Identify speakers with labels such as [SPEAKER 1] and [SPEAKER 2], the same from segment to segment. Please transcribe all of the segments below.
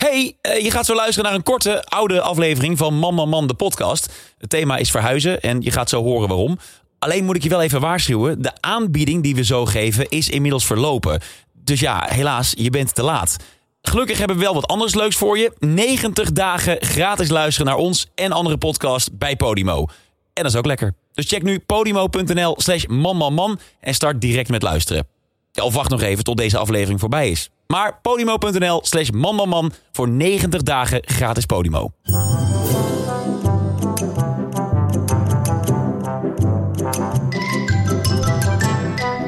[SPEAKER 1] Hey, eh, je gaat zo luisteren naar een korte oude aflevering van Man Man Man de podcast. Het thema is verhuizen en je gaat zo horen waarom. Alleen moet ik je wel even waarschuwen, de aanbieding die we zo geven is inmiddels verlopen. Dus ja, helaas, je bent te laat. Gelukkig hebben we wel wat anders leuks voor je. 90 dagen gratis luisteren naar ons en andere podcasts bij Podimo. En dat is ook lekker. Dus check nu podimo.nl slash manmanman en start direct met luisteren. Ja, Of wacht nog even tot deze aflevering voorbij is. Maar podimo.nl slash manmanman voor 90 dagen gratis Podimo.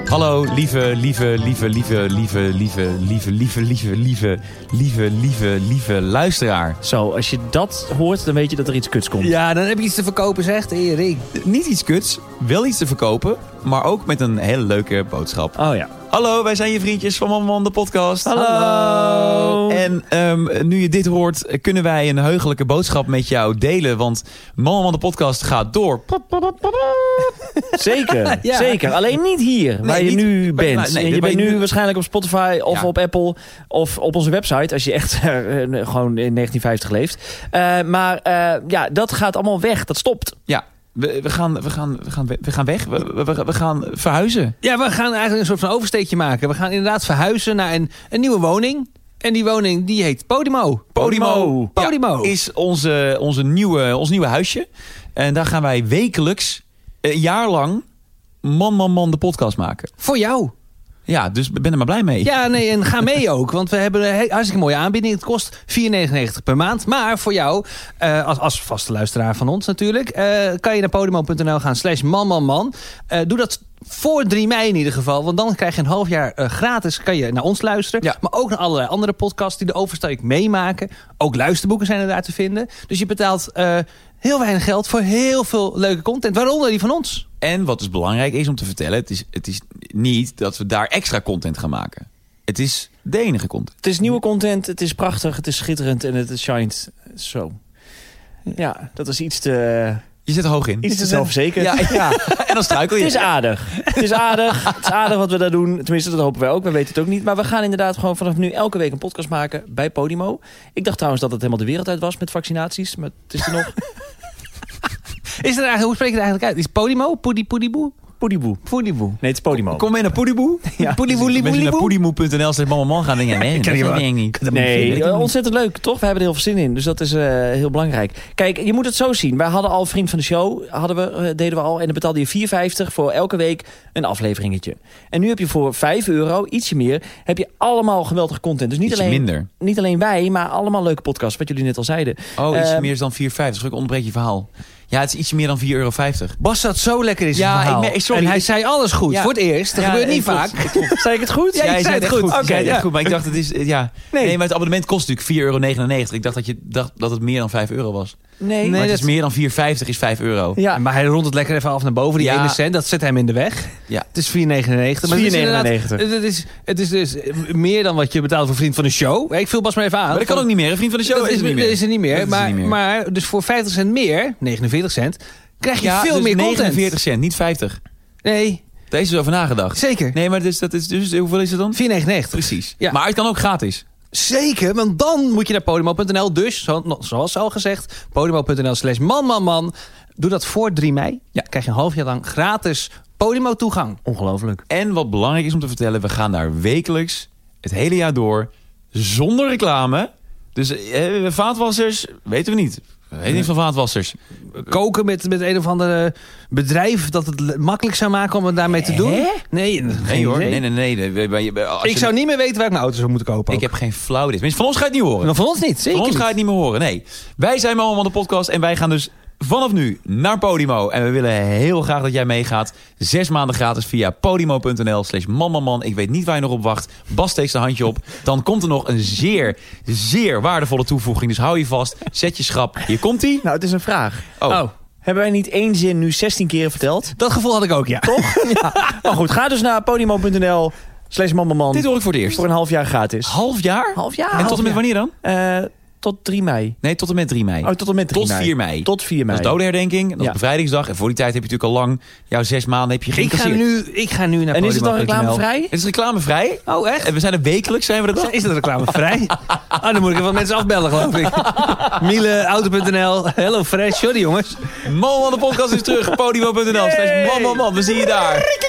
[SPEAKER 2] Hallo, lieve, lieve, lieve, lieve, lieve, lieve, lieve, lieve, lieve, lieve, lieve, lieve, lieve luisteraar.
[SPEAKER 3] Zo, als je dat hoort, dan weet je dat er iets kuts komt.
[SPEAKER 2] Ja, dan heb je iets te verkopen, zegt Erik. Eh, Niet iets kuts, wel iets te verkopen, maar ook met een hele leuke boodschap.
[SPEAKER 3] Oh ja.
[SPEAKER 2] Hallo, wij zijn je vriendjes van Man Man de podcast.
[SPEAKER 3] Hallo.
[SPEAKER 2] En ehm, nu je dit hoort, kunnen wij een heugelijke boodschap met jou delen. Want Man Man de podcast gaat door.
[SPEAKER 3] Zeker,
[SPEAKER 2] Ja.
[SPEAKER 3] zeker. Alleen niet hier, waar je
[SPEAKER 2] niet-
[SPEAKER 3] nu
[SPEAKER 2] bij-
[SPEAKER 3] bent.
[SPEAKER 2] nee,
[SPEAKER 3] je
[SPEAKER 2] waar
[SPEAKER 3] bent
[SPEAKER 2] je
[SPEAKER 3] nu
[SPEAKER 2] nu-
[SPEAKER 3] waarschijnlijk op Spotify of
[SPEAKER 2] Ja.
[SPEAKER 3] op Apple of op onze website, als je echt eh, gewoon in 1950 leeft. Eh, maar eh, ja, dat gaat allemaal weg, dat stopt.
[SPEAKER 2] Ja, we, we, gaan, we, gaan, we, gaan, we- we gaan weg. We, we- we- we gaan verhuizen.
[SPEAKER 4] Ja, we gaan eigenlijk een soort van oversteekje maken. We gaan inderdaad verhuizen naar een, een nieuwe woning. En die woning die heet Podimo.
[SPEAKER 2] Podimo,
[SPEAKER 4] Ja, Podimo.
[SPEAKER 2] is onze, onze nieuwe, ons nieuwe huisje. En daar gaan wij wekelijks, een jaar lang, man, man, man de podcast maken.
[SPEAKER 4] Voor jou.
[SPEAKER 2] Ja, dus ben er maar blij mee.
[SPEAKER 4] Ja, nee, en ga mee ook. Want we hebben een he- hartstikke mooie aanbieding. Het kost 4,99 per maand. Maar voor jou, eh, als, als vaste luisteraar van ons natuurlijk... eh, kan je naar podimo.nl gaan slash manmanman. Eh, doe dat voor 3 mei in ieder geval. Want dan krijg je een half jaar eh, gratis. Kan je naar ons luisteren.
[SPEAKER 2] Ja.
[SPEAKER 4] Maar ook naar allerlei andere podcasts die de oversteek meemaken. Ook luisterboeken zijn er daar te vinden. Dus je betaalt eh, heel weinig geld voor heel veel leuke content. Waaronder die van ons.
[SPEAKER 2] En wat dus belangrijk is om te vertellen, het is, het is niet dat we daar extra content gaan maken. Het is de enige content.
[SPEAKER 3] Het is nieuwe content, het is prachtig, het is schitterend en het shined zo. Ja, dat is iets te,
[SPEAKER 2] Je zit er hoog in.
[SPEAKER 3] iets te zelfverzekerd.
[SPEAKER 2] Ja, ja, en dan struikel je.
[SPEAKER 3] Het is aardig. Het is aardig. Het is aardig wat we daar doen. Tenminste, dat hopen wij ook. We weten het ook niet. Maar we gaan inderdaad gewoon vanaf nu elke week een podcast maken bij Podimo. Ik dacht trouwens dat het helemaal de wereld uit was met vaccinaties. Maar het is er nog.
[SPEAKER 4] Is er eigenlijk, hoe spreek je het eigenlijk uit? Is Podimo? Poedi Poediboe?
[SPEAKER 3] Poediboe.
[SPEAKER 4] Poediboe.
[SPEAKER 3] Nee, het is Podimo.
[SPEAKER 2] Kom mee naar Poediboe. Poediboe,
[SPEAKER 3] Ja.
[SPEAKER 4] Poediboe,
[SPEAKER 2] Mensen naar
[SPEAKER 4] Lieboe.
[SPEAKER 2] poediboe.nl slash man, man, man gaan dingen. Nee,
[SPEAKER 4] Kan niet
[SPEAKER 2] dat
[SPEAKER 4] waar.
[SPEAKER 2] denk ik niet.
[SPEAKER 3] Nee, eh, ontzettend leuk, toch? We hebben er heel veel zin in, dus dat is eh, heel belangrijk. Kijk, je moet het zo zien. Wij hadden al Vriend van de Show, hadden we, eh, deden we al. En dan betaalde je 4,50 voor elke week een afleveringetje. En nu heb je voor 5 euro, ietsje meer, heb je allemaal geweldige content. Dus niet,
[SPEAKER 2] Ietsje
[SPEAKER 3] alleen,
[SPEAKER 2] minder.
[SPEAKER 3] niet alleen wij, maar allemaal leuke podcasts, wat jullie net al zeiden.
[SPEAKER 2] Oh, iets
[SPEAKER 3] Ehm,
[SPEAKER 2] meer dan 4,50. Sorry, ik onderbreek je verhaal. Ja, het is iets meer dan 4,50 euro.
[SPEAKER 4] Bas zat zo lekker in zijn
[SPEAKER 2] Ja,
[SPEAKER 4] verhaal.
[SPEAKER 2] ik merk- sorry,
[SPEAKER 4] en hij
[SPEAKER 2] ik-
[SPEAKER 4] zei alles goed,
[SPEAKER 2] Ja.
[SPEAKER 4] voor het eerst. Dat
[SPEAKER 2] Ja,
[SPEAKER 4] gebeurt niet
[SPEAKER 2] ik-
[SPEAKER 4] vaak.
[SPEAKER 3] Zei ik het goed?
[SPEAKER 4] Ja,
[SPEAKER 2] Ja,
[SPEAKER 4] ik
[SPEAKER 2] je
[SPEAKER 4] zei het goed.
[SPEAKER 2] Oké,
[SPEAKER 4] Oké, ja.
[SPEAKER 2] goed. Maar ik dacht, het is... eh, Ja. Nee.
[SPEAKER 3] Nee.
[SPEAKER 2] maar het abonnement kost natuurlijk 4,99 euro. Ik dacht dat, je, dacht dat het meer dan 5 euro was.
[SPEAKER 3] Nee.
[SPEAKER 2] maar het is
[SPEAKER 4] dat-
[SPEAKER 2] meer dan 4,50 is 5 euro.
[SPEAKER 3] Ja.
[SPEAKER 4] Maar hij rondt het lekker even af naar boven, die
[SPEAKER 2] Ja.
[SPEAKER 4] ene cent. Dat zet hem in de weg.
[SPEAKER 2] Ja.
[SPEAKER 4] Het is 4,99. Maar het is inderdaad-
[SPEAKER 3] 4,99.
[SPEAKER 4] Het is, het is dus meer dan wat je betaalt voor vriend van de show. Ik vul Bas maar even aan.
[SPEAKER 2] Maar dat kan ook niet meer. Een vriend van de show
[SPEAKER 4] Dat
[SPEAKER 2] is,
[SPEAKER 4] is,
[SPEAKER 2] er niet
[SPEAKER 4] dat
[SPEAKER 2] meer.
[SPEAKER 4] is er niet
[SPEAKER 2] Dat
[SPEAKER 4] meer.
[SPEAKER 2] is
[SPEAKER 4] Maar,
[SPEAKER 2] er niet meer.
[SPEAKER 4] maar dus voor 50 cent meer, 49 cent, krijg je
[SPEAKER 2] ja,
[SPEAKER 4] veel
[SPEAKER 2] dus
[SPEAKER 4] meer content.
[SPEAKER 2] 49 cent, niet 50.
[SPEAKER 4] Nee,
[SPEAKER 2] Daar is dus over nagedacht.
[SPEAKER 4] zeker.
[SPEAKER 2] Nee, maar dus, dat is, dus hoeveel is het dan?
[SPEAKER 4] 4,99.
[SPEAKER 2] Precies.
[SPEAKER 4] Ja.
[SPEAKER 2] Maar het kan ook gratis.
[SPEAKER 4] Zeker, want dan moet je naar podimo.nl. Dus, zo- no- zoals al gezegd, podimo.nl slash man, man, man. Doe dat voor 3 mei. Ja. Krijg je een half jaar lang gratis Podimo toegang.
[SPEAKER 2] Oh.
[SPEAKER 3] Ongelooflijk.
[SPEAKER 2] En wat belangrijk is om te vertellen, we gaan daar wekelijks het hele jaar door zonder reclame. Dus eh, vaatwassers weten we niet. We weten niet van vaatwassers.
[SPEAKER 4] Koken met, met een of ander eh, bedrijf dat het le- makkelijk zou maken om het daarmee te doen.
[SPEAKER 3] Hè?
[SPEAKER 4] Nee,
[SPEAKER 2] Nee
[SPEAKER 4] geen
[SPEAKER 2] hoor,
[SPEAKER 4] idee.
[SPEAKER 2] nee, nee, nee. nee. Bij- bij- bij- als
[SPEAKER 4] Ik
[SPEAKER 2] je-
[SPEAKER 4] zou niet meer weten waar ik mijn auto zou moeten kopen.
[SPEAKER 2] ik heb geen flauw idee. Tenminste, van ons ga je het niet horen.
[SPEAKER 4] Van ons niet, zeker
[SPEAKER 2] Van ons
[SPEAKER 4] niet.
[SPEAKER 2] ga je het niet meer horen, nee. Wij zijn Mama van de podcast en wij gaan dus vanaf nu naar Podimo. En we willen heel graag dat jij meegaat. Zes maanden gratis via podimo.nl slash mamaman. Ik weet niet waar je nog op wacht. Bas steekt zijn handje op. Dan komt er nog een zeer, zeer waardevolle toevoeging. Dus hou je vast, zet je schrap. Hier komt die.
[SPEAKER 3] Nou, het is een vraag.
[SPEAKER 2] Oh.
[SPEAKER 3] Hebben wij niet één zin nu 16 keer verteld?
[SPEAKER 4] Dat gevoel had ik ook, ja.
[SPEAKER 3] Toch? ja. Maar goed, ga dus naar podimo.nl slash
[SPEAKER 2] Dit
[SPEAKER 3] mammaman
[SPEAKER 2] hoor ik voor het eerst.
[SPEAKER 3] voor een half jaar gratis.
[SPEAKER 2] Half jaar?
[SPEAKER 3] Half jaar.
[SPEAKER 2] en tot en met wanneer dan?
[SPEAKER 3] Eh, tot 3 mei.
[SPEAKER 2] Nee, tot en met 3 mei.
[SPEAKER 3] Oh, tot en met 3
[SPEAKER 2] Tot
[SPEAKER 3] mei.
[SPEAKER 2] 4 mei.
[SPEAKER 3] Tot 4
[SPEAKER 2] Dat
[SPEAKER 3] mei.
[SPEAKER 2] is dodenherdenking, dat is
[SPEAKER 3] Ja.
[SPEAKER 2] bevrijdingsdag. En voor die tijd heb je natuurlijk al lang, jouw zes maanden heb je
[SPEAKER 4] Ik ga,
[SPEAKER 2] geïncasseerd.
[SPEAKER 4] nu, ik ga nu naar
[SPEAKER 3] en is het dan
[SPEAKER 4] podimo.nl.
[SPEAKER 3] reclamevrij?
[SPEAKER 2] Het is reclamevrij.
[SPEAKER 4] Oh, echt?
[SPEAKER 2] En we zijn er wekelijks, zijn we er dan?
[SPEAKER 4] Is dat reclamevrij? Ah, dan moet ik even wat mensen afbellen, geloof ik. Miele, auto.nl, hello fresh. Sorry, jongens.
[SPEAKER 2] Man, man, de podcast is terug. Podimo.nl slash man, man, man. We zien je daar.